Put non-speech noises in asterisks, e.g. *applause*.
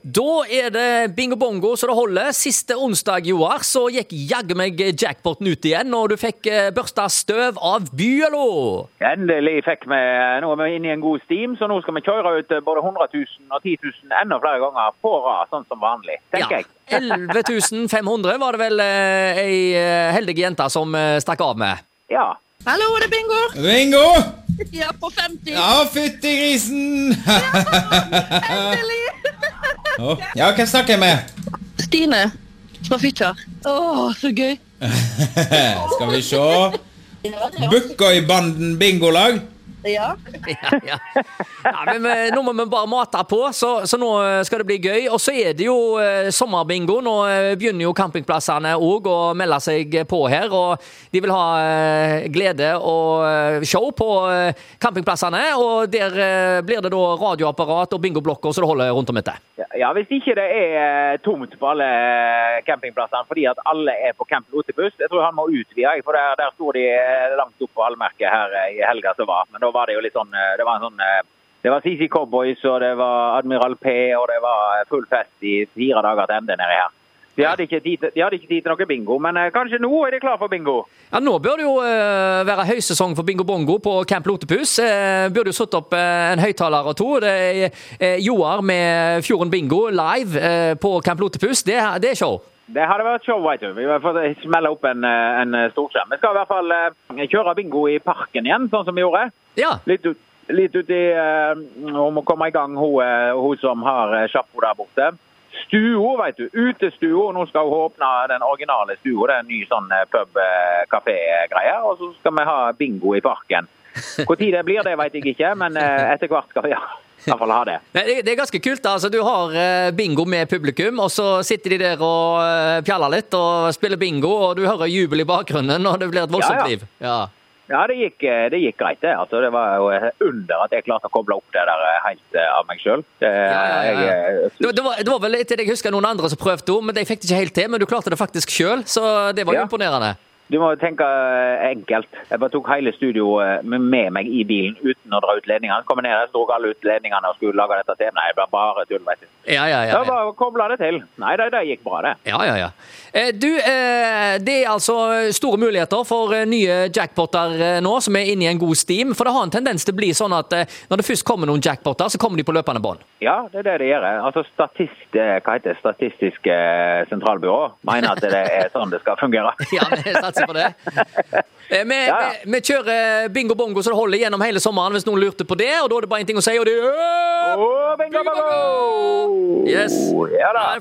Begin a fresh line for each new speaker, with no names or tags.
Da er det bingo bongo så det holder. Siste onsdag Joar, så gikk jaggu meg jackpoten ut igjen, og du fikk eh, børsta støv av Byelo.
Endelig fikk vi Nå er vi inne i en god stim, så nå skal vi kjøre ut eh, både 100 000 og 10 000 enda flere ganger på rad, sånn som vanlig, *laughs* tenker jeg.
11 500 var det vel eh, ei eh, heldig jente som eh, stakk av med.
Ja.
Hallo, er det *laughs* bingo?
Ringo!
Jeg er på 50.
Ja, fytti grisen!
Endelig!
Å, Ja, hvem snakker jeg med?
*laughs* Stine fra Fitjar. Å, så gøy.
Skal vi se. Bukkøybanden bingolag.
Ja.
*laughs* Ja, ja. Ja, men vi- nå må vi bare mate på, så, så nå eh, skal det bli gøy. Og så er det jo eh, sommerbingo. Nå eh, begynner jo campingplassene òg å melde seg på her. Og de vil ha eh, glede og eh, show på eh, campingplassene. Og der eh, blir det da radioapparat og bingoblokker så det holder rundt om etter.
Ja, hvis ikke det er eh, tomt på alle eh, campingplassene fordi at alle er på Camp Lotebuss. Jeg tror han må utvide, jeg, for der, der sto de eh, langt opp på allmerket her eh, i helga som var. Men da var det jo litt sånn Det var en sånn Det var CC Cowboys, og det var Admiral P, og det var eh, full fest i fire dager til ende nedi her. De hadde, ikke tid, til- de hadde ikke tid til noe bingo, men eh, kanskje nå er de klar for bingo.
Ja, Nå bør det jo eh, være høysesong for Bingo Bongo på Camp Lotepus. Eh, burde jo satt opp eh, en høyttaler og to. Det er eh, Joar med Fjorden Bingo live eh, på Camp Lotepus. Det, er- det er show.
Det hadde vært show, vet du. Vi må få smelle opp en, eh, en storskjerm. Vi skal i hvert fall eh, kjøre bingo i parken igjen, sånn som vi gjorde.
Ja.
Litt ut, litt ut i eh, Hun må komme i gang, hun, eh, hun som har eh, sjappo der borte. Stua, vet du. Utestua. Nå skal hun åpne den originale stua. Det er en ny sånn pub-kafé-greie. Og så skal vi ha bingo i parken. Hvor tid det blir, det vet jeg ikke, men eh, etter hvert skal vi ha- i hvert fall ha det.
Nei, Det det er ganske kult. da. altså Du har eh, bingo med publikum, og så sitter de der og eh, pjaller litt og spiller bingo, og du hører jubel i bakgrunnen, og det blir et voldsomt
Ja, ja.
liv. Ja.
Ja, det gikk, eh, det gikk greit, det. Altså, det var jo under at jeg klarte å koble opp det der helt eh, av meg eh, sjøl.
Ja, ja, ja, ja. Det, var-
ja,
det, var, det var vel etter det jeg husker noen andre som prøvde òg, men de fikk det ikke helt til. Men du klarte det faktisk sjøl, så det var jo
Ja.
imponerende.
Du må tenke eh, enkelt. Jeg bare tok hele studioet med meg i bilen uten å dra ut ledningene. Så kom jeg ned, jeg dro alle ut ledningene og skulle lage dette til. Nei, det ble bare tull, vet du.
Ja, ja, ja,
Det
ja.
var bare å koble det til. Nei, det, det gikk bra, det.
Ja, ja, ja. Eh, Du, eh, det er altså store muligheter for eh, nye jackpoter eh, nå, som er inne i en god steam. For det har en tendens til å bli sånn at eh, når det først kommer noen jackpoter, så kommer de på løpende bånd.
Ja, det er det det gjør. Altså, statist, eh, hva heter det? Statistisk eh, sentralbyrå mener at det er sånn det skal fungere.
*laughs* Ja, vi satser på
*laughs*
det. Eh, Vi,
Ja, ja.
vi, vi kjører bingo bongo så det holder gjennom hele sommeren hvis noen lurte på det. Og da er det bare én ting å si, og det er
Å, bingo, bingo!
Yes.
Ja da.